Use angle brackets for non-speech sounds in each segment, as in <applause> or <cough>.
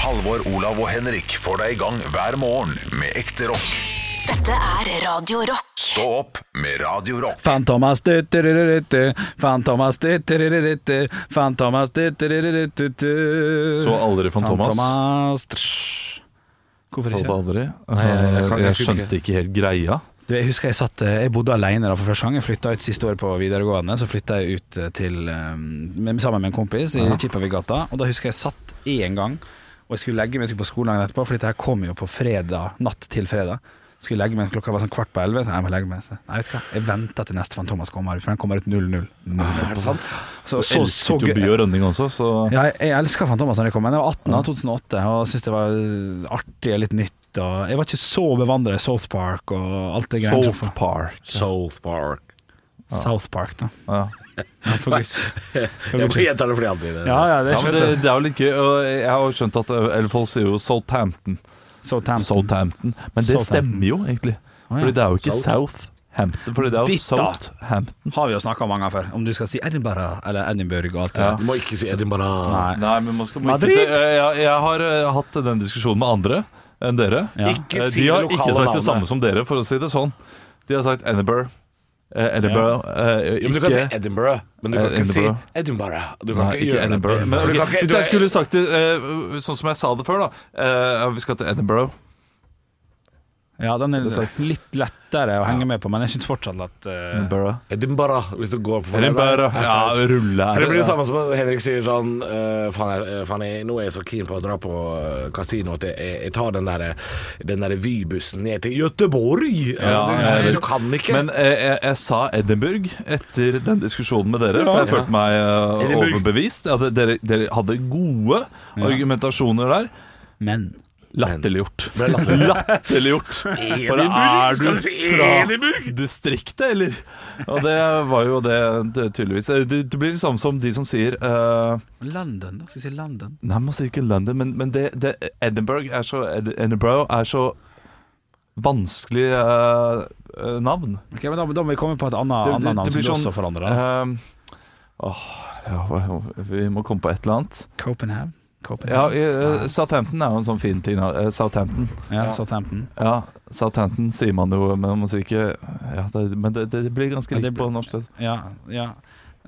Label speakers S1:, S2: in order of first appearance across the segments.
S1: Halvor, Olav og Henrik får deg i gang hver morgen med ekte rock.
S2: Dette er Radio Rock.
S1: Stå opp med Radio Rock.
S3: Fan Thomas du-du-du-du-du, Fan Thomas du-du-du-du-du, Fan Thomas du-du-du-du-du.
S4: Så aldri Fan Thomas?
S3: Thomas, tsch. Hvorfor
S4: Så det
S3: ikke?
S4: aldri?
S3: jeg
S4: jeg,
S3: kan-
S4: jeg,
S3: jeg
S4: skjønte ikke helt greia.
S3: Du, jeg husker jeg satt eh, Jeg bodde alene da for første gang. Jeg flytta ut siste året på videregående. Så flytta jeg ut eh, til eh, med, sammen med en kompis i Kippervidgata. Og da husker jeg satt én gang, og jeg skulle legge meg jeg skulle på skolen dagen etterpå, for dette her kom jo på fredag, natt til fredag. Skulle legge meg, Klokka var sånn kvart på elleve. Så jeg må legge meg Så, Nei, vet du hva Jeg venter til neste Fan Thomas kommer, for den kommer ut 0-0.
S4: Ah,
S3: Er det sant? Så,
S4: Jeg
S3: så, så,
S4: elsket jo By
S3: gøy-
S4: og Rønning også, så
S3: ja, jeg, jeg elska Fan Thomas da jeg kom, men jeg var 18 da, 2008 og syntes det var artig og litt nytt. Og jeg var ikke så bevandra i South Park og alt det greiene.
S4: South Park.
S5: South Park.
S3: South Park, da.
S4: Ja.
S3: Ja, for guds <laughs> for
S5: Jeg
S3: guds
S5: bare
S3: skyld.
S5: gjentar det fordi han sier det.
S3: Ja, ja, det
S4: Ja, men
S3: skjønte
S4: det,
S3: jeg.
S4: det er jo litt gøy. og Jeg har jo skjønt at eller folk sier jo Southampton.
S3: Southampton.
S4: Southampton. Men det
S3: Southampton.
S4: stemmer jo, egentlig.
S3: ja.
S4: Fordi det er jo ikke
S5: South.
S4: Southampton, fordi det er jo
S3: Ditt da.
S4: Southampton.
S3: Har vi jo snakka om mange ganger før. Om du skal si Edinburgh eller Edinburgh og alt det
S4: Ja.
S5: Du må ikke si Edinburgh.
S3: der. Nei.
S4: Nei, men man skal man ikke
S3: Madrid!
S4: se- jeg, jeg har eh, hatt den diskusjonen med andre enn dere.
S3: Ja.
S4: Eh,
S5: Ikke si
S4: De har
S5: det
S4: ikke
S5: lokale
S4: sagt det
S5: navnet.
S4: samme som dere, for å si det sånn. De har sagt Edinburgh. Eh, Edinburgh eh,
S5: Jo, men du kan si
S4: ikke-
S5: Edinburgh, men du kan
S4: Eh,
S5: ikke si
S4: Edinburgh.
S5: Edinburgh. Du kan
S4: Nei, ikke
S5: gjøre det.
S4: Edinburgh. Men,
S5: For du
S4: ok,
S5: kan ikke-
S4: hvis
S5: du
S4: jeg
S5: er-
S4: skulle sagt det eh, sånn som jeg sa det før, da. eh, vi skal til Edinburgh.
S3: Ja, den er
S4: Det er sagt.
S3: litt lettere å henge med på, men jeg syns fortsatt at eh,
S4: Edinburgh.
S5: Edinburgh, hvis du går på for
S4: Edinburgh.
S5: det der.
S4: Ja, rulle
S5: For det blir det
S4: ja.
S5: samme som at Henrik sier sånn eh, Faen, jeg, eh, faen jeg, nå er jeg så keen på å dra på eh, kasino at jeg, jeg, jeg tar den derre den der Vy-bussen ned til Göteborg.
S4: Ja,
S5: altså,
S4: jeg
S5: du,
S4: vet.
S5: du kan ikke.
S4: Men eh, jeg, jeg sa Edinburgh etter den diskusjonen med dere, for jeg følte meg eh,
S5: Edinburgh.
S4: overbevist. At dere, dere hadde gode argumentasjoner der.
S3: Men
S4: Latterliggjort.
S5: Ble latterlig.
S4: Latterliggjort. Bare
S5: <laughs> Edinburgh?
S4: er
S5: Skal du
S4: du
S5: si
S4: fra
S5: Edinburgh?
S4: distriktet, eller? Og det var jo det, det tydeligvis. Eh, Det, det blir det samme som de som sier eh,
S3: London, da? Skal vi si London?
S4: Nei, man sier ikke London, men, men det, det, Edinburgh er så Ed- Edinburgh er så vanskelig eh, eh, navn.
S3: Ok, men da, da må vi komme på et annet,
S4: Det- det-
S3: annet navn
S4: det blir
S3: som du
S4: sånn-
S3: også forandrer. da.
S4: Ehm, åh, ja, hva- vi må komme på et eller annet.
S3: Copenhagen.
S4: Ja,
S3: Copenhagen.
S4: eh, Southampton er jo en sånn fin ting. da. Eh, Southampton.
S3: Ja, Southampton.
S4: Ja, Southampton sier man jo, men man sier ikke ja, det, Men det, det blir ganske
S3: Ja, det
S4: likt på norsk. det.
S3: Ja, ja.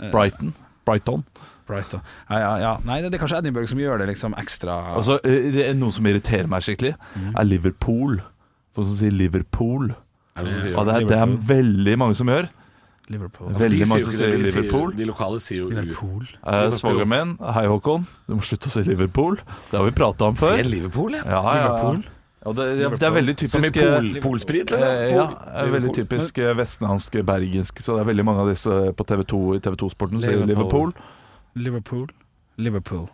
S3: Eh,
S4: Brighton. Brighton.
S3: Bright, da. Ja, ja, ja. Nei, det, det er kanskje Edinburgh som gjør det liksom ekstra
S4: Og så eh, det er noe som irriterer meg skikkelig, er Liverpool. Folk som sier Liverpool.
S5: Er det noen som sier
S4: Og det er, det er veldig mange som gjør.
S3: Liverpool.
S5: De
S4: Veldig
S5: sier
S4: mange
S5: jo
S4: som
S5: ikke
S4: sier
S5: det, de sier-
S4: Liverpool.
S5: De lokale sier jo U.
S3: Liverpool.
S4: Eh, Svogeren min, hei Håkon, du må slutte å si Liverpool. Det har vi prata om før.
S5: Sier Liverpool, ja.
S4: Ja, ja, ja.
S3: Liverpool?
S4: Ja, det, det, det er veldig typisk
S5: Som i pol, polsprit,
S4: eh,
S5: liksom.
S4: ja, er veldig typisk eh, vestlandsk, bergensk. Så det er veldig mange av disse eh, på TV2 i TV2-sporten sier
S3: Liverpool.
S4: Liverpool.
S3: Liverpool. Liverpool.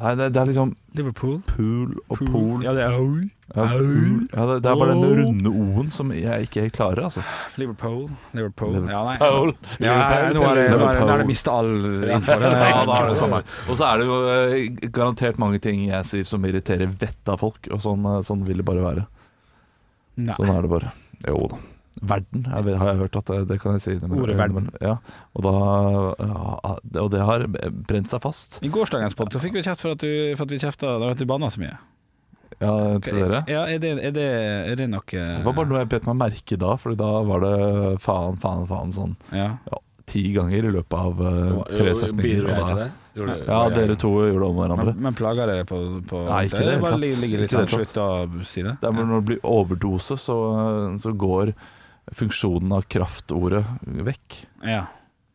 S4: Nei, det, det er liksom
S3: Liverpool.
S4: pool og pool. Ja,
S3: Ja, det er
S4: pool. Ja, det, det er bare den runde O-en som jeg ikke helt klarer, altså.
S3: Liverpool. Liverpool. Ja, nei.
S4: Pool.
S3: Ja, nå er det, nå er det, nå er det
S4: Liverpool.
S3: mista all info.
S4: <laughs> <laughs> Ja, da er det samme. Og så er det jo eh, garantert mange ting jeg sier som irriterer vettet av folk, og sånn, eh, sånn vil det bare være.
S3: Nei.
S4: Sånn er det bare. Jo da. Verden er vel- har jeg hørt at eh, det, det kan jeg si. innimellom.
S3: Ordet verden.
S4: Ja, og, da, ja, det- og det har brent seg fast.
S3: I gårsdagens pod fikk vi kjeft for at, du, for at vi kjefta da at du banna så mye.
S4: Ja, til dere.
S3: Ja, er det, er det, er det nok
S4: Det var bare noe jeg bet meg merke da, Fordi da var det faen, faen, faen sånn
S3: ja.
S4: ja, ti ganger i løpet av eh, tre setninger.
S5: Bidro jeg
S4: og
S5: til
S4: da-
S5: det? Gjorde du-
S4: Ja, dere to gjorde det om
S3: men,
S4: hverandre.
S3: men plager dere på, på
S4: Nei, ikke i det hele
S3: bare
S4: tatt.
S3: ligger- ligger litt
S4: Ikke i
S3: sånn
S4: det hele
S3: slutt av si det.
S4: Det er bare når det blir overdose, så, så går funksjonen av kraftordet vekk.
S3: Ja.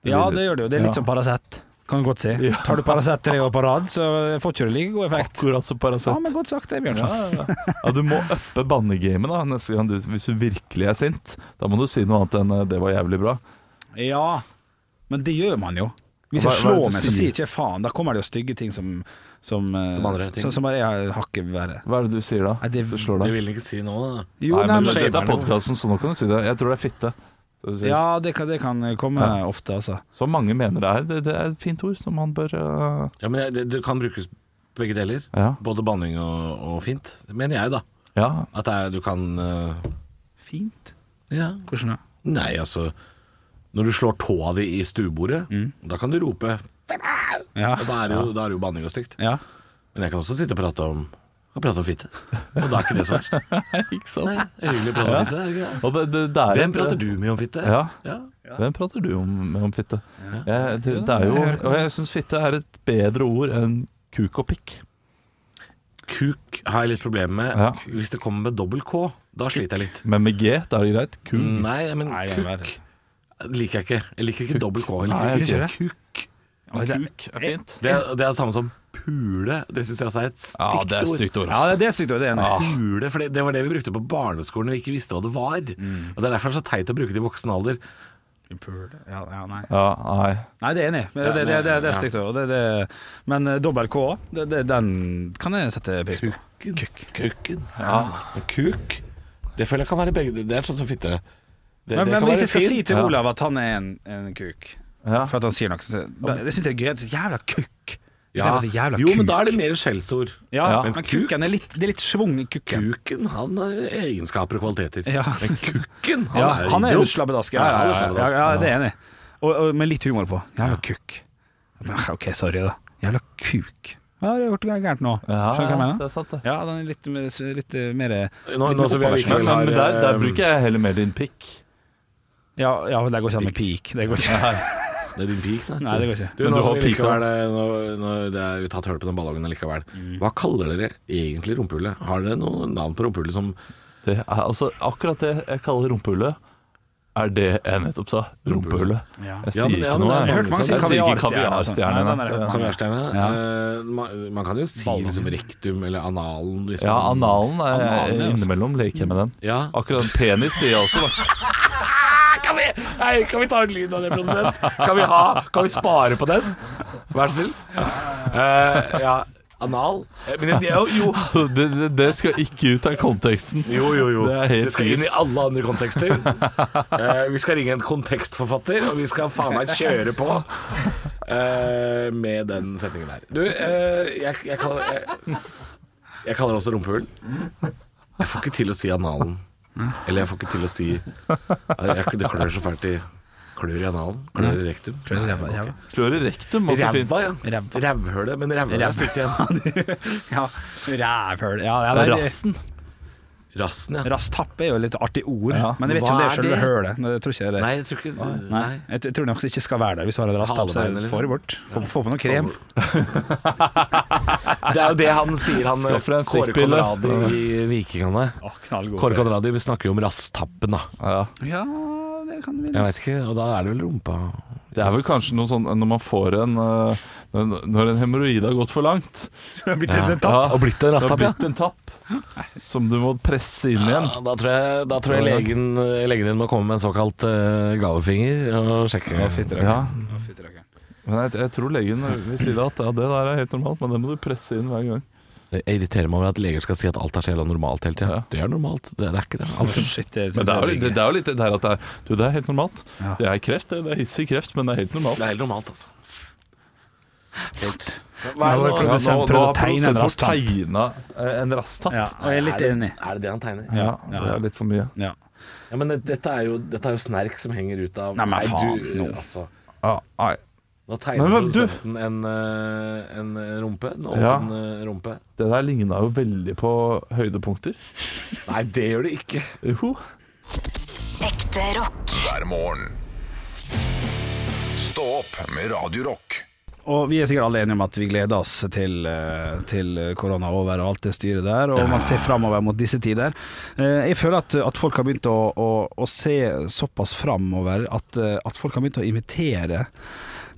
S3: ja, det gjør det jo. Det er litt
S4: Ja.
S3: som Paracet, kan du godt si.
S4: Ja.
S3: Tar du Paracet tre år på rad, så får ikke du like god effekt.
S4: Akkurat som Paracet.
S3: Ja, men godt sagt det,
S4: Ja,
S3: Bjørnson.
S4: ja, ja. ja, du må uppe bannegamet da neste gang du, hvis du virkelig er sint. Da må du si noe annet enn eh, 'det var jævlig bra'.
S3: Ja, men det gjør man jo. Hvis jeg
S4: Hva- hva er det
S3: slår meg,
S4: du
S3: så
S4: sier?
S3: sier ikke jeg faen. Da kommer det jo stygge ting som Som, eh,
S5: Som andre ting.
S3: Som, som bare er hakket verre.
S4: Hva er det du sier da?
S3: Nei, det-
S4: Hvis du slår
S5: Det
S4: deg?
S5: vil han ikke si nå, da.
S3: Jo,
S4: nei, men,
S5: men-
S4: Dette er podkasten, så nå kan du si det. Jeg tror det er fitte. Så, du sier.
S3: Ja, det kan, det kan komme
S4: Ja.
S3: ofte, altså.
S4: så sånn. mange mener det er. Det, det er et fint ord som han bør eh,
S5: Ja, men jeg- det, det kan brukes begge deler.
S4: Ja.
S5: Både banning og, og fint. Det mener jeg, da.
S4: ja.
S5: At det er, du kan eh,
S3: Fint.
S5: Ja.
S3: Hvordan da?
S5: Nei, altså Når du slår tåa di
S4: Mm.
S5: i stuebordet, da kan du rope.
S3: Ja.
S4: Ah.
S5: Og da er det jo, da er det jo banning og stygt.
S3: ja.
S5: Men jeg kan også sitte og prate om og prate om fitte. Og da er ikke det så verst.
S4: <laughs> Ikke
S5: Nei,
S4: sant?
S5: det er hyggelig å prate om fitte. er det ikke det?
S4: Og det, det, det er eh,
S5: Hvem prater du med om fitte?
S4: Ja.
S5: ja.
S4: Hvem prater du om, med om fitte? Jeg, det, det er jo, og jeg syns fitte er et bedre ord enn kuk og pikk.
S5: Kuk har jeg litt problemer med.
S4: Ja.
S5: Hvis det kommer med dobbel K, da sliter jeg litt.
S4: Men med G, da er det greit. Kuk.
S5: Nei, men
S3: Nei, det er
S5: kuk liker jeg ikke. Jeg liker ikke dobbel K. Jeg
S4: Nei,
S5: liker
S4: jeg gjør
S5: ikke kuk.
S3: Oi, det-
S4: Kuk er fint.
S5: Det er det er samme som pule. Det syns jeg også er et stygt
S4: Ja, det er
S5: ord. Ah.
S4: stygt ord.
S3: Ja, det- det er sykt, og det er enig.
S5: Pule, for det, det var det vi brukte på barneskolen når vi ikke visste hva det var. Og Det er derfor det er så teit å bruke det i voksen alder.
S3: Ja, ja, nei.
S4: Ja, nei.
S3: nei, det er enig. Men Det, det, det, det er stygt. og Det, det, men eh, dobbel K, det, det, den kan jeg sette pris på.
S5: Kuk. Kukken. Ah. Men Kuk. Det føler jeg kan være begge Det er sånn som fitte. Det,
S3: Men,
S5: det
S3: men
S5: kan
S3: hvis
S5: være
S3: jeg skal
S5: fint.
S3: si til
S4: Ja.
S3: Olav at han er en, en kuk
S4: Ja.
S3: For at han sier noe så, da, Det synes jeg er gøy Jævla kukk
S5: Ja.
S3: ja. Jævla
S5: Jo,
S3: kuk.
S5: men da er det mer skjellsord.
S3: ja,
S4: Ja.
S3: Men kukken er litt, det er litt svung i kukken
S5: Kuken, han har egenskaper og kvaliteter.
S3: ja. <laughs>
S5: Kukken, han
S3: ja,
S5: er
S3: Han er jo
S5: idiot.
S3: slabbedask ja, ja,
S5: han er
S3: ja, ja,
S5: slabbedask.
S3: ja, det er enig og, og, Med litt humor på Jævla kukk Ah, Ok, sorry da Jævla kuk Ja, det har gjort noe gærent nå Skjønner
S4: Ja,
S3: du hva jeg
S4: det
S3: mener?
S4: er sant, det.
S3: Ja, den er litt, mer- litt eh, mer
S5: Nå, nå som vi
S4: Men,
S5: allikevel
S4: men
S5: har
S4: der, der
S5: eh,
S4: bruker jeg heller mer din pikk.
S3: Ja, ja det går ikke an med pik Det går ikke
S5: Det er din pik, da.
S3: Nei, det går ikke.
S5: Du,
S4: Men
S5: nå
S4: du
S5: som
S4: har
S5: vi
S4: pika.
S5: likevel, eh, nå, nå, det er, vi har tatt høl på den ballongen likevel.
S4: Mm.
S5: Hva kaller dere egentlig rumpehullet? Har dere noe navn på rumpehullet som
S4: Det er, altså, akkurat det jeg kaller rumpehullet, er det jeg nettopp sa. Rumpehullet.
S3: Ja.
S4: Jeg
S5: Ja,
S4: sier
S5: men- ja,
S4: ikke
S5: men
S4: noe.
S5: det er
S4: jeg.
S5: mange altså. som-
S4: Jeg sier ikke
S3: kaviarstjerne og sånt. Nei,
S4: kaviarstjerne.
S3: den er-
S4: nei.
S3: den er-
S5: kaviarsteine?
S4: Ja.
S5: Eh, man, man kan jo si liksom rektum eller analen. Hvis
S4: Ja,
S5: man-
S4: analen er
S3: Analen, ja, altså.
S4: innimellom leker jeg med den.
S5: Ja.
S4: Akkurat penis sier jeg også, da.
S5: Kan vi, nei, kan vi ta ut lyden av det, produsent? Kan vi, ha, kan vi spare på den? Vær så snill.
S4: <laughs>
S5: Eh, ja, anal Eh, Men det, jo, jo,
S4: Det, det, det skal ikke ut av konteksten.
S5: Jo, jo, jo.
S4: Det er helt
S5: Det skal inn i
S4: sikkert.
S5: alle andre kontekster. Eh, vi skal ringe en kontekstforfatter, og vi skal faen meg kjøre på eh, med den setningen der. Du, eh, jeg, jeg kaller jeg, jeg kaller det også rumpehull. Jeg får ikke til å si analen. Eller jeg får ikke til å si eh, jeg, Det klør så fælt i Klør i analen? Klør i rektum?
S3: Prøv det,
S5: Nei,
S3: ja.
S5: ok.
S4: Slår i rektum også fint.
S5: Ræva, ja.
S3: Ræva.
S5: Rævhølet. Men rævhølet er stygt igjen.
S3: <laughs> Ja, rævhøl ja, ja, det er-
S4: Rassen.
S5: Rassen, ja.
S3: Rastapp er jo et litt artig ord,
S4: Ja.
S3: men jeg vet ikke om det er
S5: Hva er
S3: selve
S5: det?
S3: hølet. Nei, Jeg tror ikke det er det.
S5: Nei, jeg tror ikke
S3: Nei.
S5: Nei.
S3: Jeg t- tror nok det ikke skal være der hvis du har en rastapp. Så
S5: Halebeinet, liksom.
S3: får det bort. Få, få på noe krem.
S5: Det er jo det han sier, han
S4: Skaff deg en
S5: Kåre
S4: stikkpille.
S5: Conradi i Vikingene.
S3: Å, knallgod
S5: Kåre
S3: serie.
S5: Conradi vi snakker jo om rasstappen, da.
S4: Ja.
S3: Ja, det kan vi
S5: Jeg veit ikke, og da er det vel rumpa
S4: Det er vel kanskje noe sånn når man får en øh, Når når en hemoroide har gått for langt.
S3: Blitt en tapp.
S4: Ja,
S5: Og blitt
S4: Det
S5: en
S4: har
S5: rasstapp, ja.
S4: blitt en tapp som du må presse inn igjen.
S5: Ja, Da tror jeg, da tror jeg legen, legen din må komme med en såkalt eh, gavefinger og sjekke.
S3: Å, fytti rakkeren.
S4: Ja,
S3: Å, fytti rakkeren.
S4: men jeg, jeg tror legen vil si det at ja, det der er helt normalt, men det må du presse inn hver gang.
S5: Jeg irriterer meg over at leger skal si at alt er så jævla normalt hele tida. Det er normalt, det, det er ikke det.
S3: Å,
S5: Alt er
S3: shit, det,
S4: Men det er jo litt det, er jo litt det der at det er, du, det er helt normalt.
S3: Ja.
S4: Det er kreft, det. Det er hissig kreft, men det er helt normalt.
S5: <laughs> det er helt normalt, altså.
S3: Hva er det
S4: Ja,
S3: produsent
S4: nå- nå
S3: prøvde å
S4: har
S3: tegne en
S4: produsenten
S3: rastapp?
S4: tegnet, eh, en rasstapp.
S3: Ja, og jeg er litt enig.
S5: Er det det han tegner?
S4: Ja,
S3: Ja.
S4: det er litt for mye.
S3: Ja.
S5: Ja, men det- dette er, jo, dette er jo snerk som henger ut av
S3: Nei, men faen,
S5: du,
S3: nå.
S5: altså.
S4: Ja, nei.
S5: Nå tegner
S4: Men, men, du-
S5: produsenten en, eh, en eh, rumpe. En åpen
S4: Ja.
S5: eh, rumpe.
S4: Det der ligna jo veldig på høydepunkter.
S5: Nei, det gjør det ikke.
S4: Jo.
S2: Ekte rock.
S1: hver morgen. Stå opp med Radio Rock.
S3: Og vi er sikkert alle enige om at vi gleder oss til, eh, til korona over og alt det styret der, og man ser framover mot disse tider. Eh, Jeg føler at, at folk har begynt å, å, å se såpass framover at, eh, at folk har begynt å invitere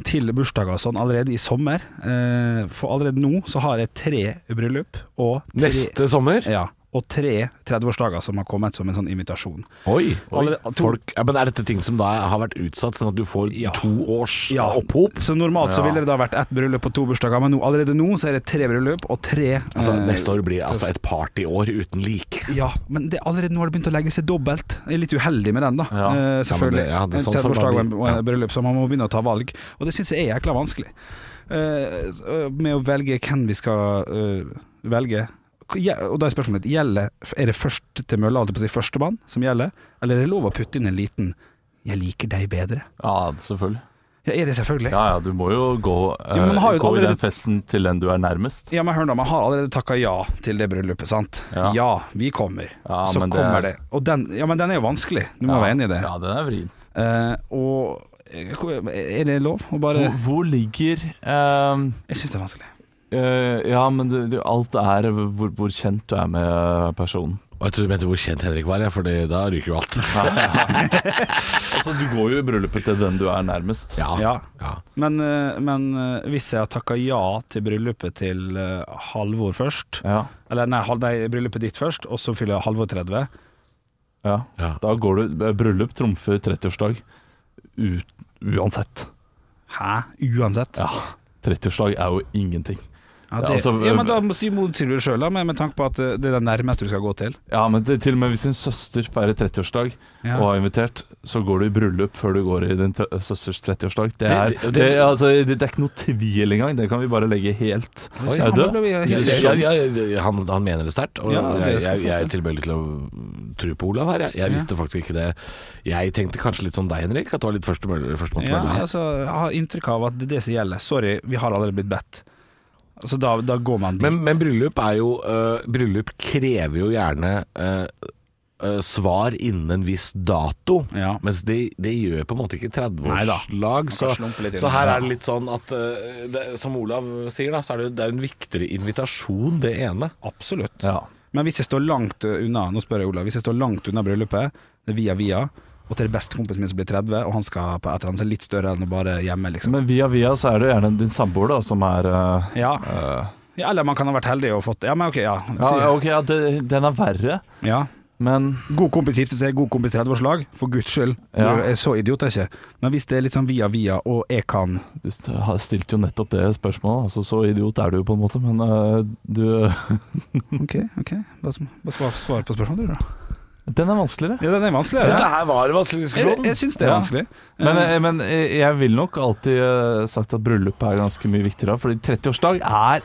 S3: til bursdager og sånn allerede i sommer. Eh, For allerede nå så har jeg tre bryllup og tre,
S5: Neste sommer?
S3: ja, og tre 30-årsdager som har kommet som en sånn invitasjon.
S5: Oi.
S3: Allerede- to-
S5: Folk, ja, men er dette ting som da har vært utsatt, sånn at du får
S3: Ja.
S5: to års
S3: Ja,
S5: opphop?
S3: Så normalt så
S5: Ja.
S3: ville det da vært ett bryllup og to bursdager, men nå, allerede nå så er det tre bryllup og tre
S5: Altså,
S3: eh,
S5: neste år blir altså et partyår uten lik.
S3: Ja, men det, allerede nå har det begynt å legge seg dobbelt. Jeg er litt uheldig med den, da.
S4: Ja.
S3: Eh, selvfølgelig.
S5: det- ja, det er sånn
S3: en 30-årsdag og en-
S5: får det
S3: og
S5: bare bli.
S3: en bryllup, så man må begynne å ta valg. Og det syns jeg er jækla vanskelig. Eh, s- eh, med å velge hvem vi skal eh, velge. Hva- ja, Og da er spørsmålet mitt gjelder, Er det først til mølla, holdt jeg på å si, førstemann, som gjelder? Eller er det lov å putte inn en liten 'jeg liker deg bedre'?
S4: Ja, selvfølgelig.
S3: Ja, er det selvfølgelig.
S4: Ja ja, du må jo gå,
S3: Jo,
S4: eh,
S3: men man har jo
S4: gå i
S3: allerede-
S4: den festen til den du er nærmest.
S3: Ja, men hør da, Man har allerede takka ja til det bryllupet, sant?
S4: Ja.
S3: Ja, vi kommer.
S4: Ja,
S3: så
S4: men det-
S3: kommer det. Og den, ja, men den er jo vanskelig, du må
S4: ja.
S3: være enig i det.
S4: Ja, den er vrien.
S3: Eh, og eh, hvor- er det lov å bare
S4: Hvor, hvor ligger eh,
S3: Jeg syns det er vanskelig.
S4: eh, Ja, men det, det, alt er hvor, hvor kjent du er med personen.
S5: Og jeg tror du mente hvor kjent Henrik var, ja, for det- da ryker jo <laughs> alt.
S4: Altså, du går jo i bryllupet til den du er nærmest.
S5: Ja.
S3: Ja.
S5: Ah, Ja.
S3: Men, eh, men eh, hvis jeg har takka ja til bryllupet til eh, Halvor først
S4: Ja,
S3: Eller nei, hal- nei, bryllupet ditt først, og så fyller jeg Halvor 30
S4: ja.
S5: Ja.
S4: Da går du eh, Bryllup trumfer 30-årsdag u- uansett.
S3: Hæ? Uansett?
S4: Ja. 30-årsdag er jo ingenting.
S3: Ja, det,
S4: Ja, altså,
S3: ja, men Da må si- motsier du det sjøl, med, med tanke på at eh, det er det nærmeste du skal gå til.
S4: Ja, men til, til og med hvis din søster feirer 30-årsdag
S3: Ja.
S4: og har invitert, så går du i bryllup før du går i din t- søsters 30-årsdag. Det, er-
S5: Det- det-
S4: det, altså, det, det er ikke noe tvil engang. Det kan vi bare legge helt Er det
S5: Oi,
S3: Ja, da blir
S4: død?
S3: vi
S5: Ja,
S3: helt-
S5: ja, ja, ja, han, han mener det sterkt, og
S3: Ja, det
S5: jeg,
S3: skal
S5: jeg,
S3: få
S5: jeg
S3: se.
S5: er tilbøyelig til å tro på Olav her. Jeg, jeg visste faktisk ikke det. Jeg tenkte kanskje litt som deg, Henrik, at det var litt første mølle- førstemann til
S3: Ja,
S5: mølla her.
S3: altså, jeg har inntrykk av at det er det som gjelder. Sorry, vi har allerede blitt bedt. Altså, da, da går man dit.
S5: Men, men bryllup er jo øh, Bryllup krever jo gjerne øh, øh, svar innen en viss dato.
S3: Ja.
S5: Mens det det gjør på en måte ikke
S3: Neida.
S5: 30-årslag. Så,
S3: slumpe litt inn.
S5: så her er det litt sånn at øh, det, Som Olav sier, da, så er det, det er en viktigere invitasjon, det ene.
S3: Absolutt.
S4: Ja.
S3: Men hvis jeg står langt unna Nå spør jeg Olav. Hvis jeg står langt unna bryllupet, det er via via, og til bestekompisen min som blir 30, og han skal på et eller annet som er litt større enn å bare hjemme, liksom.
S4: Men via via så er det gjerne din samboer da, som er eh,
S3: Ja.
S4: eh,
S3: ja. Eller man kan ha vært heldig og fått Ja, men ok, ja.
S4: Ja,
S3: Si-
S4: ok, ja, det, den er verre,
S3: ja.
S4: men
S3: God kompis gifter seg, god kompis 30-årslag. For guds skyld.
S4: Ja.
S3: Jeg er så idiot, jeg er ikke. Men hvis det er litt sånn via via, og jeg kan
S4: du st- har stilt jo nettopp det spørsmålet. Altså, så idiot er du jo på en måte, men eh, du
S3: OK, OK. Bare sm- bare svar, svar på spørsmålet, du, da.
S4: Den er vanskeligere.
S3: Ja, den er vanskeligere.
S6: Dette her var en vanskelig
S3: Jeg,
S6: diskusjon.
S3: jeg syns det er
S4: Ja.
S3: vanskelig.
S4: Men,
S3: Eh,
S4: eh, men eh, jeg vil nok alltid eh, sagt at bryllup er ganske mye viktigere. Fordi 30-årsdag er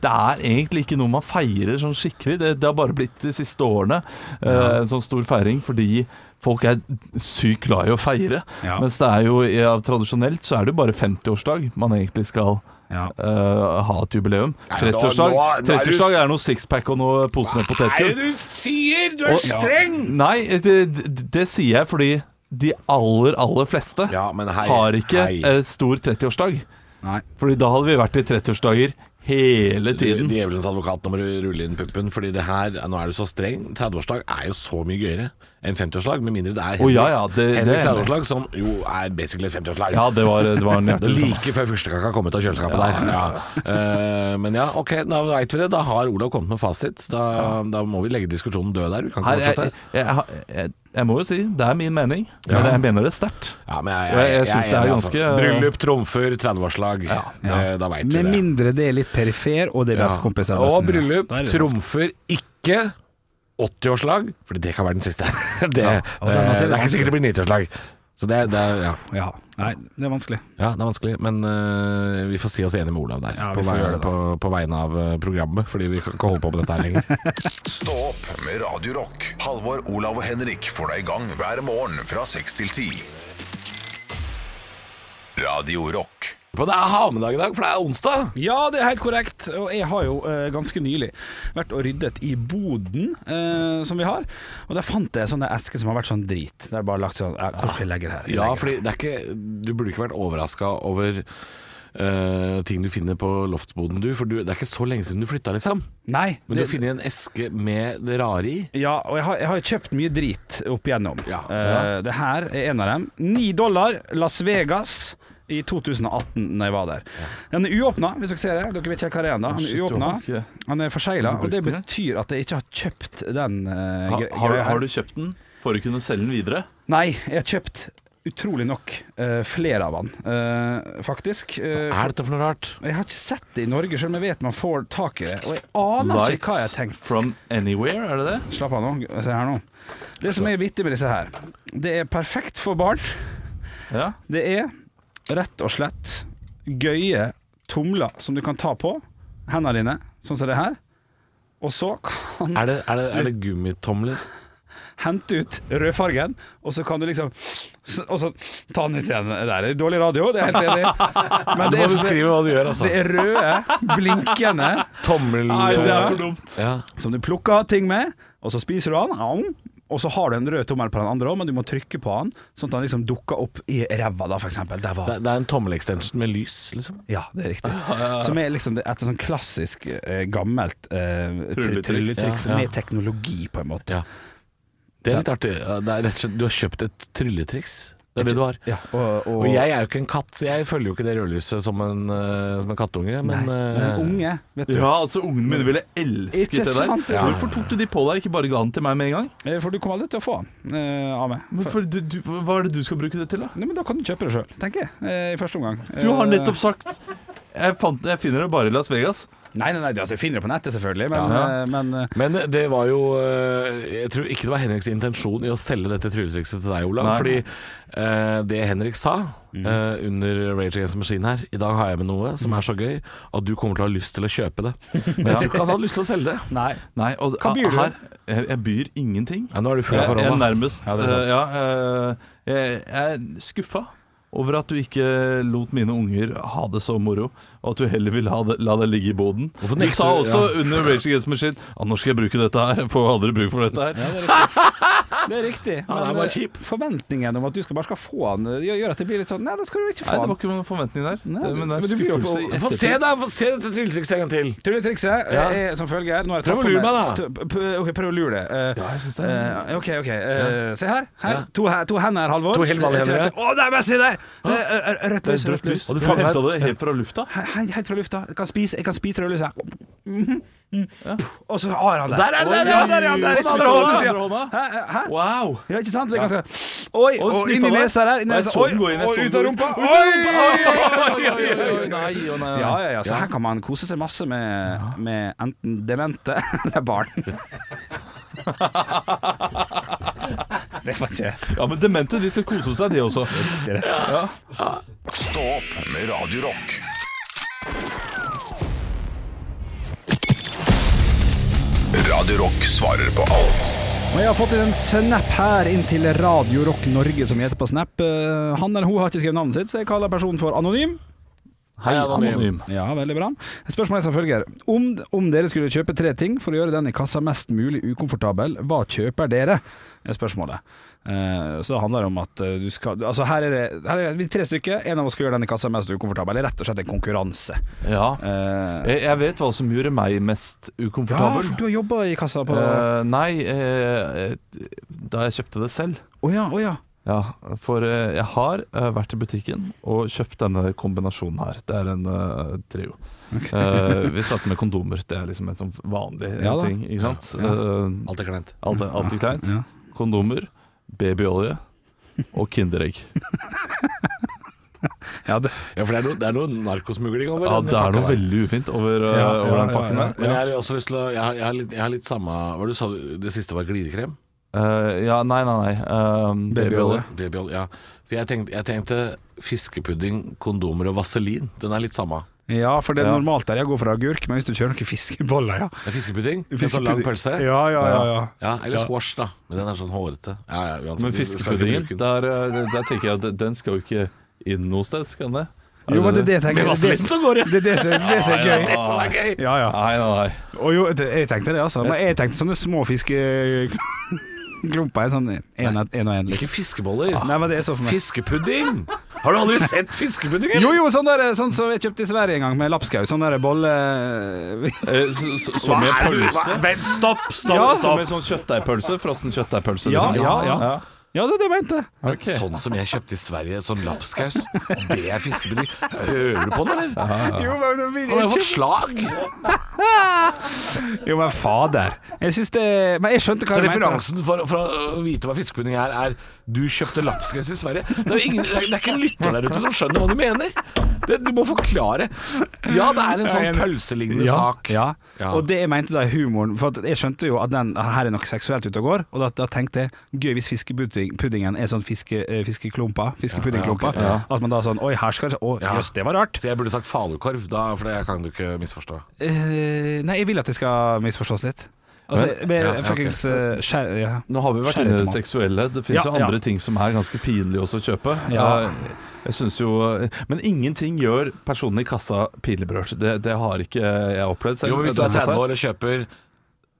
S4: Det er egentlig ikke noe man feirer sånn skikkelig. Det, det har bare blitt de siste årene eh, en sånn stor feiring fordi folk er sykt glad i å feire.
S3: Ja.
S4: Mens det er jo ja, tradisjonelt så er det jo bare 50-årsdag man egentlig skal
S3: ja.
S4: eh, ha et jubileum.
S6: Nei, nå-
S4: 30-årsdag
S6: nå- nå er du-
S4: 30-årsdag er noe sixpack og noe pose med
S6: Hva er
S4: potetgull.
S6: det du sier? Du
S4: Og-
S6: er streng!
S4: Nei, det, det, det sier jeg fordi de aller, aller fleste
S5: Ja, men hei,
S4: har ikke
S5: hei.
S4: eh, stor 30-årsdag.
S3: Nei.
S4: Fordi da hadde vi vært i 30-årsdager hele tiden.
S5: Djevelens advokat nå må du rulle inn puppen, fordi det her Nå er du så streng. 30-årsdag er jo så mye gøyere enn 50-årslag, med mindre det er
S4: Å,
S5: Henriks,
S4: ja, ja, det- det er
S5: Henriks
S4: jeg enig i.
S5: 30-årslag, som jo er basically et 50-årslag.
S4: Ja, det var, det var sånn.
S5: det er
S4: nøyaktig det samme.
S5: like før fyrstekaka kom ut av kjøleskapet der. Eh, men ja, ok, da veit vi det. Da har Olav kommet med fasit. Da, da må vi legge diskusjonen død der. Vi kan
S4: Her,
S5: ikke
S4: jeg,
S5: fortsette.
S4: jeg, har- jeg, jeg må jo si, det er min mening, men jeg mener det sterkt.
S5: Ja, men
S4: Jeg- jeg synes det er
S5: enig, altså.
S4: ganske-
S5: Bryllup trumfer 30-årslag. Det- eh, Da veit vi
S3: Med
S5: det.
S3: mindre det er litt perifer, og det er
S5: Ja.
S3: bestekompiser.
S5: Og
S3: nesten, ja.
S5: bryllup
S3: Da er det
S5: trumfer ikke 80-årslag, Fordi det kan være den siste. <laughs> det, det,
S3: og den er også
S5: det er ikke sikkert det blir 90-årslag. Så det, det, er- ja.
S3: vanskelig. Ja. Nei, det er vanskelig.
S5: ja, det er vanskelig. Men øh, vi får si oss enige med Olav der,
S3: Ja, vi
S5: på,
S3: får
S5: vei,
S3: gjøre det da.
S5: på, på vegne av øh, programmet. Fordi vi kan ikke holde på med dette her lenger.
S1: Stå opp med Radio Rock. Halvor, Olav og Henrik får deg i gang hver morgen fra 6 til 10. Radio Rock.
S5: <laughs> Men det er hamedag i dag, for det er onsdag.
S3: Ja, det er helt korrekt. Og jeg har jo eh, ganske nylig vært og ryddet i boden eh, som vi har. Og der fant jeg sånne esker som har vært sånn drit. Der bare lagt sånn eh, Hvor skal jeg legge det her? Jeg
S5: Ja,
S3: legger det.
S5: fordi det er ikke, du burde ikke vært overraska over øh, ting du finner på loftsboden, du. For du, det er ikke så lenge siden du flytta, liksom.
S3: Nei.
S5: Men du finner en eske med det rare i.
S3: Ja, og jeg har, jeg har kjøpt mye drit opp igjennom.
S5: Ja.
S3: Eh, det her er en av dem. 9 dollar, Las Vegas. I 2018, når jeg var der. Den er uåpna, hvis dere ser det. Dere vet ikke hva det er ennå. Han
S4: Shit,
S3: er
S4: du
S3: uåpna.
S4: har ikke-
S3: Han er forsegla.
S4: Har du
S3: Og det
S4: brukt den?
S3: betyr at jeg ikke har kjøpt den uh,
S4: Ha, har, har du kjøpt den for å kunne selge den videre?
S3: Nei, jeg har kjøpt utrolig nok eh, flere av han, eh, faktisk. Eh,
S5: Hva er dette for noe rart?
S3: for- jeg har ikke sett det i Norge, selv om jeg vet man får tak i det. Og jeg aner ikke altså, hva jeg har tenkt.
S4: from anywhere, er det det?
S3: Slapp av nå. Se her nå. Det som er vittig med disse her, det er perfekt for barn.
S4: Ja.
S3: Det er rett og slett gøye tomler som du kan ta på hendene dine, sånn som det her. Og så kan
S5: Er det, er det, er det gummitomler?
S3: hente ut rødfargen, og så kan du liksom Og så ta den ut igjen. Det er dårlig radio, det er jeg helt enig i. Men
S5: Du
S3: det
S5: må
S3: er, så-
S5: beskrive hva du gjør, altså.
S3: det er røde, blinkende,
S5: Tommel...
S4: Nei, det er for dumt.
S5: Ja.
S3: som du plukker ting med, og så spiser du den. Au. Og så har du en rød tommel på den andre òg, men du må trykke på den, sånn at den liksom dukker opp i ræva, da, for eksempel. Der var den.
S5: Det er- det er en tommelextension med lys, liksom.
S3: Ja, det er riktig. Som er liksom det- et sånn klassisk eh, gammelt eh, try-
S4: Trylletriks.
S3: trylletriks
S5: Ja, ja.
S3: med teknologi, på en måte.
S5: Ja. Det er litt artig. Ja, Det er rett og slett, du har kjøpt et trylletriks. Det er det du har.
S3: Ja, og, og,
S5: Og jeg er jo ikke en katt, så jeg følger jo ikke det rødlyset som en, eh, som en
S3: Nei,
S5: kattunge. Men, eh,
S3: men unge, vet du.
S4: Ja, altså Ungene mine ville elsket
S3: Ikke
S4: det der.
S3: sant? Ja.
S4: Hvorfor tok du de på deg, ikke bare ga den til meg med en gang?
S3: Eh, For du kommer aldri til å få den eh, av meg.
S4: Men for, du, du, hva er det du skal bruke det til, da?
S3: Nei, men da kan du kjøpe det sjøl, tenker jeg. eh, I første omgang.
S4: Du har
S3: Eh,
S4: nettopp sagt jeg, fant, jeg finner det bare i Las Vegas.
S3: Nei, nei, nei, altså, jeg finner det på nettet, selvfølgelig, men,
S4: Ja.
S3: eh, men eh,
S5: men det var jo eh, Jeg tror ikke det var Henriks intensjon i å selge dette trylletrikset til deg, Olav.
S4: Nei. Mhm.
S5: Fordi eh, det Henrik sa eh, under Rage Against the Machine her I dag har jeg med noe som er så gøy at du kommer til å ha lyst til å kjøpe det.
S4: <laughs>
S5: Men jeg tror ikke han hadde lyst til å selge det.
S3: Nei.
S4: Nei, og,
S3: Hva byr du?
S4: her- Jeg, jeg byr ingenting.
S5: Ja, nå er du full
S4: Jeg, jeg
S5: av
S4: er
S5: korona.
S4: nærmest
S3: Ja, det er sant.
S4: eh, ja, eh, jeg, jeg er skuffa over at du ikke lot mine unger ha det så moro, og at du heller vil ha det, la det ligge i boden.
S5: Hvorfor
S4: Du
S5: nekter
S4: sa
S5: du-
S4: også under Rage Against the Machine at når skal jeg bruke dette her? Får aldri bruk for dette her.
S3: Det er riktig.
S5: Ja, det er
S3: men,
S5: bare
S3: eh,
S5: kjip.
S3: Forventningen om at du skal bare skal få den, eh, gjør gjør at det blir litt sånn Nei, da skal du ikke
S4: Nei,
S3: få
S4: det var
S3: den.
S4: ikke noen forventning der.
S3: Nei,
S4: det, men det er
S3: men du byr jo på-
S4: skuffelse. i
S5: Få se, da! Få se dette trylletrikset en gang til.
S3: Trylletrikset
S5: Ja.
S3: er Eh, som følger nå har jeg tatt
S5: Prøv å
S3: på
S5: lure meg,
S3: t- p- Ok, prøv å lure det. Eh,
S4: Ja, jeg synes det
S3: eh, ok, ok. eh, Se her. her. To, he- to hender, Halvor. Eh,
S5: To helt vanlige hender, ja.
S3: Å, nei, bare se der! Eh, eh, Rødt
S4: Det
S3: lys.
S4: er drøtt lys.
S5: Og du
S4: Jeg
S5: fanger-
S4: hentet det helt fra lufta.
S3: He- he- Helt fra lufta. Jeg kan spise, jeg kan spise rødlys her. Mhm. Mm. Og så har han det.
S5: Der er det,
S3: Oi,
S5: der er det, der er det, der er det.
S3: På den andre hånden, sier han. Hæ? Hæ?
S4: Wow!
S3: Ja, ikke sant? Det er ganske Oi,
S4: Og
S3: og inn
S4: sniffa
S3: i
S4: der.
S3: nesa der. inn i
S4: Og jeg
S3: nesa.
S4: så den gå inn, jeg
S3: Oi,
S4: så
S3: og
S4: den
S3: ut av
S4: gå inn.
S3: rumpa. Oi!
S4: Nei, å nei,
S3: Ja,
S4: nei.
S3: ja, ja. Så her kan man kose seg masse med, med enten demente eller barn. <laughs> Det var ikke
S4: ja, men demente de skal kose seg, de også.
S1: Stå opp med Radio Rock. Radio Rock svarer på alt.
S3: Og jeg har fått en snap her inn til Radio Rock Norge, som heter på Snap. Eh, Han eller hun har ikke skrevet navnet sitt, så jeg kaller personen for anonym.
S5: Hei, anonym.
S3: Ja, veldig bra. Spørsmålet er som følger. Om, om dere skulle kjøpe tre ting for å gjøre den i kassa mest mulig ukomfortabel, hva kjøper dere? er spørsmålet. Eh, så det handler om at eh, du skal Altså her er det her er vi tre stykker. En av oss skal gjøre den i kassa mest ukomfortabel. Det er rett og slett en konkurranse.
S4: Ja.
S3: Eh,
S4: Jeg, jeg vet hva som gjorde meg mest
S3: ja,
S4: ukomfortabel.
S3: for du har jobba i kassa på Å
S4: Eh, nei, eh, da jeg kjøpte det selv.
S3: ja, å ja.
S4: Ja, for eh, jeg har eh, vært i butikken og kjøpt denne kombinasjonen her. Det er en eh, trio. Eh, vi starter med kondomer. Det er liksom en sånn vanlig eh,
S3: Ja da.
S4: ting. Ikke sant? Eh,
S5: Alt er kleint.
S4: alt, er- alt er kleint.
S3: Ja.
S4: Kondomer, babyolje og Kinderegg.
S3: Ja, det,
S5: Ja, for det er noe, det er noe narkosmugling over
S4: Ja,
S5: den
S4: det er
S5: pakka
S4: noe
S5: der.
S4: veldig ufint over, eh,
S3: Ja, ja,
S4: over den
S3: ja,
S4: pakken
S3: ja.
S4: der.
S5: Men jeg har også lyst til å Jeg har, jeg har, litt, jeg har litt samme Hva du sa du? Det siste var glidekrem?
S4: Eh, ja, nei, nei, nei. eh, babyolje.
S5: Babyolje, ja. For jeg tenkte, jeg tenkte fiskepudding, kondomer og vaselin. Den er litt samme.
S3: ja, for det er
S4: Ja.
S3: normalt der jeg går for agurk, men hvis du kjører noen fiskeboller, ja.
S5: Det er fiskepudding? Med så lang pølse? Ja.
S3: Ja, ja, ja, ja.
S5: Eller squash, da. Men den er sånn hårete. Ja, ja, uansett,
S4: Men
S5: vi skal ikke
S4: fiskepuddingen,
S5: bruke den.
S4: der, eh, der tenker jeg at den skal jo ikke inn noe sted, skal den det? Er
S3: Jo, men det er det jeg tenker. Det er det
S5: sånn.
S3: som går, ja. Det er det som det som er gøy.
S4: som er
S5: gøy.
S3: Ja, ja.
S4: Nei, nei, nei.
S3: Og jo, det- jeg tenkte det, altså. Men jeg tenkte sånne små <laughs> fiskeklumper. Sånn én og én.
S5: Ikke fiskeboller.
S3: Ah. Nei, men det er så for meg.
S5: Fiskepudding! Har du aldri sett fiskepudding? eller?
S3: Jo, jo, sånn der, sånn som jeg kjøpte i Sverige en gang, med lapskaus. Sånn der bolle...
S4: Eh, så- så- Som i en pølse?
S5: Vent, stopp, stopp,
S4: Ja, som
S5: stopp!
S4: en sånn kjøttdeigpølse? Frossen kjøttdeigpølse?
S3: Ja,
S4: liksom.
S3: ja, ja. Ja, det er det jeg mente.
S4: Ok.
S5: Sånn som jeg kjøpte i Sverige, sånn lapskaus. Det er fiskepudding. Hører du på den, eller?
S3: Jo, men,
S5: Han har fått slag!
S3: jo, men fader. Jeg syns det Men jeg skjønte hva
S5: Så
S3: du mente.
S5: referansen for, for å vite hva fiskepudding er, er du kjøpte lapskaus i Sverige. Det er, jo ingen, det er det er ikke en lytter der ute som skjønner hva du mener. Det, du må forklare. Ja, det er en
S3: Ja,
S5: sånn
S3: en-
S5: pølselignende sak.
S3: Ja.
S5: Ja.
S3: Og det jeg mente da i humoren For at jeg skjønte jo at den her er noe seksuelt ute og går, og da, da tenkte jeg gøy hvis fiskepuddingen er sånn fiske, eh, fiskeklumper, fiskepuddingklumper, at man da sånn Oi, her skal det Å,
S5: Ja.
S3: jøss, det var rart.
S5: Så jeg burde sagt falukorv, da, for det kan du ikke misforstå.
S3: Eh, nei, jeg vil at det skal misforstås litt. Altså,
S5: Men-
S3: med
S5: Ja, ja, ok.
S3: fuckings eh, skjær... Ja.
S4: Nå har vi vært inne i det seksuelle. Det fins
S3: Ja,
S4: jo
S3: ja.
S4: andre ting som er ganske pinlige også å kjøpe.
S3: Ja.
S4: Eh, Jeg synes jo eh, Men ingenting gjør personen i kassa pinlig berørt. Det, det har ikke jeg opplevd selv.
S5: Jo, men hvis du er
S4: Denne
S5: 30
S4: måten.
S5: år og kjøper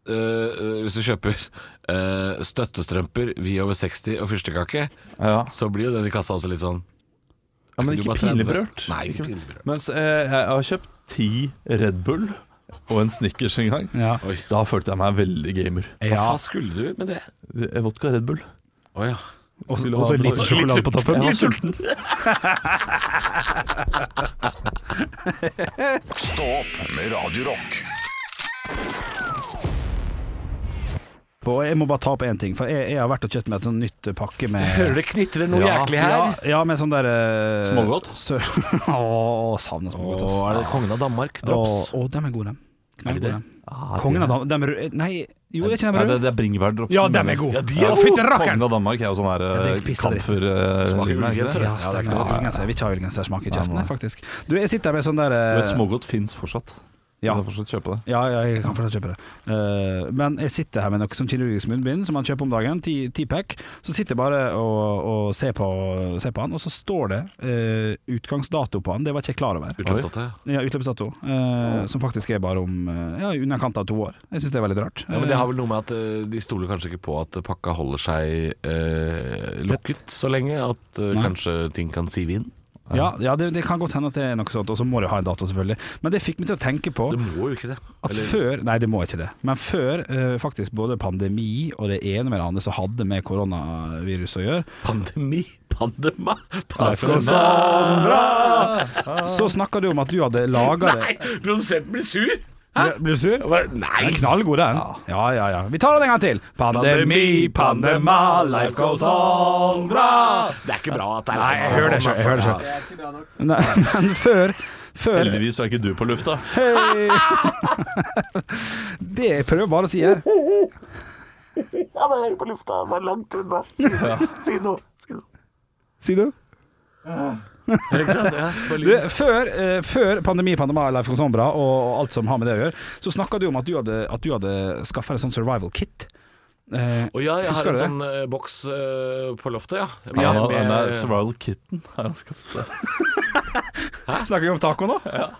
S5: øh, øh, Hvis du kjøper øh, støttestrømper, vi over 60 og fyrstekake,
S4: Ja.
S5: så blir jo den i kassa også litt sånn
S4: ja, men
S5: Du
S4: ikke
S5: bare
S4: pinlig
S5: 30.
S4: berørt.
S5: Nei, ikke pinlig berørt.
S4: Mens eh, jeg har kjøpt ti Red Bull og en Snickers en gang.
S3: Ja.
S5: Oi.
S4: Da følte jeg meg veldig gamer. Eh,
S5: Hva
S3: Ja.
S5: faen skulle du med det?
S4: Vodka Red Bull.
S5: Å ja.
S3: Og
S4: Skulle
S3: og så
S4: ha-
S3: litt sjokolade på toppen.
S4: Jeg var sulten.
S1: Stå opp med Radio Rock.
S3: Og jeg må bare ta opp én ting, for jeg, jeg har vært og kjøpt meg et sånt nytt eh, pakke med
S5: Hører det knitrer noe
S4: Ja.
S5: jæklig her?
S3: Ja, ja, med sånn der eh,
S5: Smågodt?
S3: sø- <laughs> Åh, savner smågodt.
S5: Å, er det kongen av Danmark? Drops?
S3: Å, å, dem er gode, dem.
S5: Er de det?
S3: Knallgode, dem. Kongen av Danmark dem er rød- Nei, jo, er ikke dem
S4: Nei, det,
S3: røde?
S4: det er bringebærdrops.
S3: Ja,
S4: som
S3: dem er
S4: gjelder.
S3: gode.
S5: Ja, de
S3: Å,
S5: er
S3: fytti rakkeren!
S4: Kongen av Danmark er jo sånn her
S3: det
S4: eh,
S3: er piss og dritt.
S4: kamfer... eh,
S5: Smaker
S4: lignende, er ikke
S5: ullgenser,
S4: det?
S3: Ja, stemmer.
S5: klart.
S3: Ullgenser. Vi ikke har ullgenser, smaker i kjeften, faktisk. Du, jeg sitter her med sånn der
S4: Du
S3: eh,
S4: vet, smågodt fins fortsatt. Du
S3: Ja.
S4: kan fortsatt kjøpe det.
S3: Ja, ja, jeg kan fortsatt kjøpe det. Eh, men jeg sitter her med noe sånn kirurgisk munnbind som man kjøper om dagen, ti- ti-pack. Så sitter jeg bare og, og ser, på, ser på han, og så står det eh, utgangsdato på han. Det var ikke jeg klar over.
S5: Utløpsdato, ja.
S3: Ja, utløpsdato. eh, som faktisk er bare om eh, ja, i underkant av to år. Jeg syns det er veldig rart.
S5: Ja, men det har vel noe med at eh, de stoler kanskje ikke på at pakka holder seg eh, lukket så lenge at eh,
S3: Nei.
S5: kanskje ting kan sive inn.
S3: Eh, ja, ja det, det kan godt hende at det er noe sånt, og så må du ha en dato, selvfølgelig. Men det fikk meg til å tenke på
S5: Det må jo ikke det.
S3: At
S5: Eller-
S3: før, nei det må ikke det, men før eh, faktisk både pandemi og det ene med det andre som hadde med koronavirus å gjøre,
S5: Pandemi? <laughs> Pandema? <laughs>
S3: så snakka du om at du hadde laga det.
S7: Nei, produsenten blir sur!
S3: Blir du sur?
S7: Jeg bare, Nei!
S3: Den er knallgod, den. Ja, ja, ja. Vi tar den en gang til. Pandemi, pandema, life goes on. Bra!
S7: Det er ikke bra at det er
S3: Nei,
S5: altså
S3: jeg hører
S5: sånn,
S3: det selv, jeg hører det selv. Nei, <laughs> men før før
S4: Heldigvis er ikke du på lufta.
S3: Hei. Det jeg prøver bare å si her
S7: Ja, men jeg hører på lufta. Det var langt unna. Si noe. Si noe.
S3: Si du? Du, før, eh, før pandemi, pandema, Leif Konsombra og, og alt som har med det å gjøre, så snakka du om at du hadde, at du hadde skaffa deg sånn survival kit. Eh,
S5: Å ja, jeg har
S3: Husker
S5: en
S3: du det?
S5: sånn eh, boks eh, på loftet, ja. Med-
S4: Ja,
S5: med-
S4: den der Survival Kitten har
S3: <laughs>
S4: jeg skaffet.
S3: snakker vi om taco nå?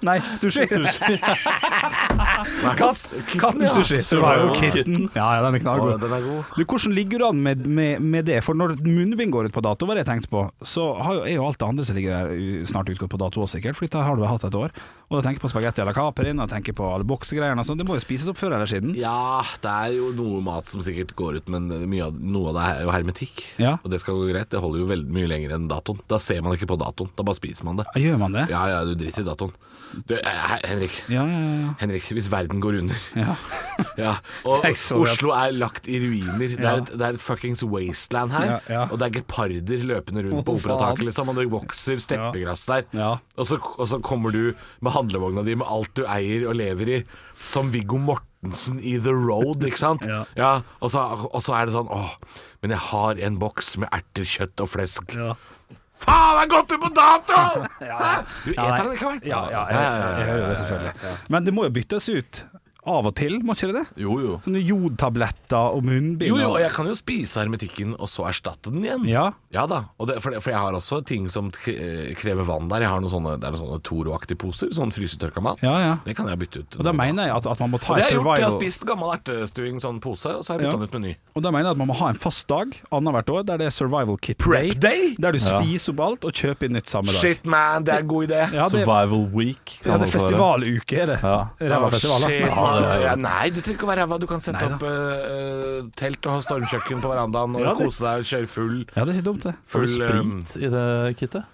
S3: Nei, sushi. Katt, katten
S5: ja.
S3: sushi.
S4: Survival
S3: Survival kitten. Ja, ja, den er knallgod.
S5: Å, den er god.
S3: Du, hvordan ligger du an med, med, med det? For når munnbind går ut på dato, var det jeg tenkte på, så har jo, er jo alt det andre som ligger der u- snart utgått på dato også, sikkert. For dette har du vel hatt et år. Og da tenker jeg på spagetti à la Caprin, og tenker på alle boksegreiene og sånn. Det må jo spises opp før eller siden.
S5: Ja, det er jo noe mat som sikkert går ut, men mye av, noe av det er jo hermetikk.
S3: Ja.
S5: Og det skal gå greit. Det holder jo veldig mye lenger enn datoen. Da ser man ikke på datoen, da bare spiser man det.
S3: Ja, Gjør man det?
S5: Ja ja, du driter i datoen. Du, eh, Henrik,
S3: Ja, ja, ja.
S5: Henrik, hvis verden går under
S3: Ja.
S5: <laughs> ja. Og
S3: <laughs> Seks år, ja.
S5: Oslo er lagt i ruiner. Det er et, det er et fuckings wasteland her.
S3: Ja, ja.
S5: Og det er geparder løpende rundt på
S3: Å,
S5: operataket,
S3: faen.
S5: liksom. Og det vokser steppegress der.
S3: Ja.
S5: Og, så, og så kommer du med handlevogna di med alt du eier og lever i, som Viggo Mortensen i The Road, ikke sant?
S3: <laughs> Ja.
S5: og, så, og så er det sånn Åh, men jeg har en boks med erter, kjøtt og flesk.
S3: Ja.
S5: Faen, det er gått ut på dato! Hæ? Du
S3: <laughs> Ja,
S5: eter
S3: nei.
S5: den likevel?
S3: Ja, ja, jeg, jeg, hører det selvfølgelig. Men det må jo byttes ut av og til, må ikke det det?
S4: Jo, jo.
S3: Sånne jodtabletter og munnbind.
S5: Jo, jo,
S3: og-
S5: og jeg kan jo spise hermetikken og så erstatte den igjen.
S3: Ja.
S5: da, og det, for, det, for jeg har også ting som kre- eh, krever vann der. Jeg har noen sånne, det er noen sånne Toro-aktige poser, sånn frysetørka mat.
S3: Ja, ja.
S5: Det kan jeg bytte ut.
S3: Og da mener jeg at, at man må ta
S5: Og det
S3: en
S5: har jeg gjort. Jeg har
S3: survival
S5: spist gammel ertestuing, sånn pose, og så har jeg
S3: Ja.
S5: bytta den ut med ny.
S3: Og da mener jeg at man må ha en fast dag annethvert år der det er survival kit day.
S5: day?
S3: Der du spiser opp alt og kjøper inn nytt samme dag.
S5: Shit, man, det er en god idé.
S3: Ja, det,
S4: Survival Week.
S3: ja, det er
S4: kan det også være.
S3: festivaluke, er det.
S4: Ja.
S3: Ræva festival, da.
S5: Ah, Shit,
S4: Ja, det er-
S5: ja, nei, det trenger ikke å være ræva. Du kan sette
S3: Nei da.
S5: opp eh, eh, telt og ha stormkjøkken på verandaen og
S3: Ja, det-
S5: kose deg og kjøre full,
S3: Ja, det er ikke dumt, det.
S4: Får du
S5: full eh,
S4: sprit i det kittet?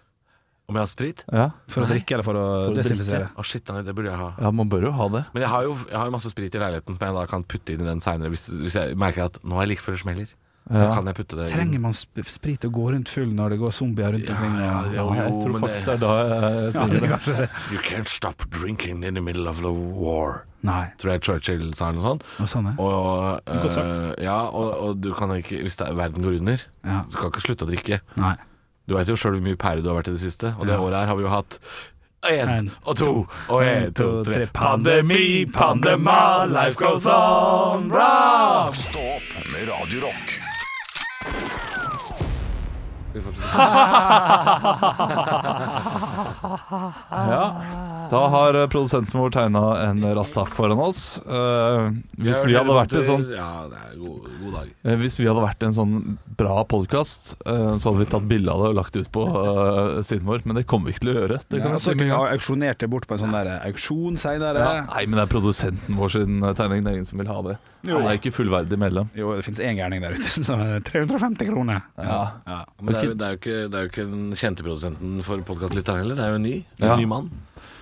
S5: Om jeg har sprit?
S4: Ja.
S3: For å drikke eller for å
S4: å
S3: desinfisere.
S5: Å, shit, nei, det burde jeg ha.
S4: ja, man bør jo ha det.
S5: Men jeg har jo jeg har jo masse sprit i leiligheten som jeg da kan putte inn i den seinere hvis, hvis jeg merker at nå er jeg like før det smeller. Så
S4: Ja.
S5: kan jeg putte det inn.
S3: Trenger man sp sprit og gå rundt full når det går zombier rundt omkring?
S5: ja,
S3: og-
S5: ja, Jo,
S4: jeg tror
S5: men
S4: faktisk det er
S5: det-
S4: da eh, jeg trenger det.
S5: You can't stop drinking in the middle of the war.
S3: Nei.
S5: Tror jeg Churchill sa eller noe sånt.
S3: Og sånn er det.
S5: Og,
S3: Godt sagt.
S5: eh, ja, og, og du kan ikke Hvis det er, verden går under,
S3: Ja.
S5: så kan du ikke slutte å drikke.
S3: Nei.
S5: Du veit jo sjøl hvor mye pære du har vært i det siste, og det året her har vi jo hatt
S8: én
S3: En,
S8: og to og én, to, tre. Pandemi, pandema,
S3: pandema,
S8: life goes on, bra!
S1: Stå opp med Radio Rock.
S4: Da har eh, produsenten vår tegna en rastak foran oss. Eh, hvis vi hadde vært en sånn
S5: Ja, det er god, god dag.
S4: Eh, Hvis vi hadde vært en sånn bra podkast, så hadde vi tatt bilde av det og lagt det ut på eh, siden vår, men det kommer vi ikke til å gjøre. Det kan
S3: Ja,
S4: jeg
S3: så
S4: si med
S3: kunne
S4: en
S3: jeg
S4: gang.
S3: ha auksjonert det bort på en sånn der auksjon senere.
S4: Ja. Nei, men det er produsenten vår sin eh, tegning. Det er ingen som vil ha det.
S3: Jo.
S4: Han er ikke fullverdig medlem.
S3: Jo, det finnes én gærning der ute <laughs> som er 350 kroner.
S4: Ja.
S3: Ja.
S5: Men det er, jo, det, er jo ikke, det er jo ikke den kjente produsenten for podkastlytteren heller. Det er jo en ny. En
S4: Ja.
S5: ny mann.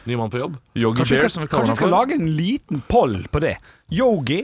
S5: Ny mann på jobb.
S4: Yogi
S3: Kanskje vi
S4: Bear,
S3: skal,
S4: som vi
S3: kanskje
S4: kaller
S3: vi
S4: han
S3: skal
S4: for.
S3: lage en liten poll på det. Yogi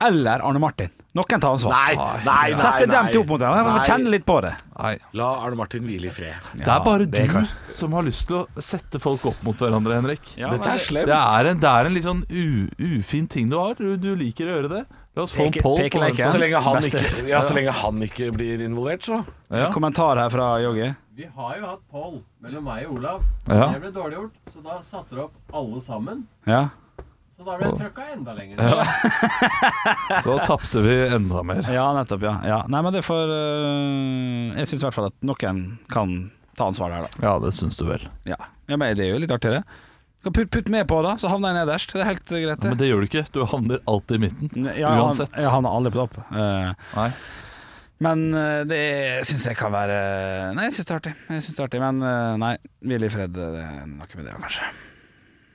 S3: eller Arne Martin. Noen tar ansvar.
S5: nei, nei,
S3: Sette dem to opp mot hverandre. Få Kjenne litt på det.
S4: Nei.
S5: La Arne Martin hvile i fred.
S4: Det er bare
S3: det kan-
S4: du som har lyst til å sette folk opp mot hverandre, Henrik.
S5: Dette er slemt.
S4: Det er en, det er en litt sånn u, ufin ting du har. Du, du liker å gjøre det. La oss få en
S3: Peke-
S4: poll på
S3: pekeleik,
S4: hvem
S3: ja.
S5: Så
S4: som-
S5: lenge, han
S3: Beste.
S5: ikke, ja, så lenge han ikke blir involvert, så.
S4: Ja.
S3: Kommentar her fra Yogi.
S9: Vi har jo hatt poll mellom meg og Olav.
S4: Ja.
S9: Det ble dårliggjort, så da satte dere opp alle sammen.
S3: Ja.
S9: Så da ble jeg trøkka enda lenger. ned.
S4: Så tapte vi
S3: <laughs>
S4: enda mer.
S3: ja, nettopp. Ja. ja. Nei, men det får øh, Jeg syns i hvert fall at noen kan ta ansvar der, da.
S4: Ja, det syns du vel.
S3: Ja, ja men Det er jo litt artigere. Kan putt, putt med på, da, så havner jeg nederst. Det er helt eh, greit,
S4: Men
S3: det.
S4: det gjør du ikke. Du havner alltid i midten.
S3: Ja, jeg havner-
S4: uansett.
S3: jeg havner aldri på topp. Eh,
S4: Nei.
S3: Men eh, det syns jeg kan være Nei, jeg syns det er artig. Jeg synes det er artig Men eh, nei, hvil i fred. Det er noe med det, kanskje.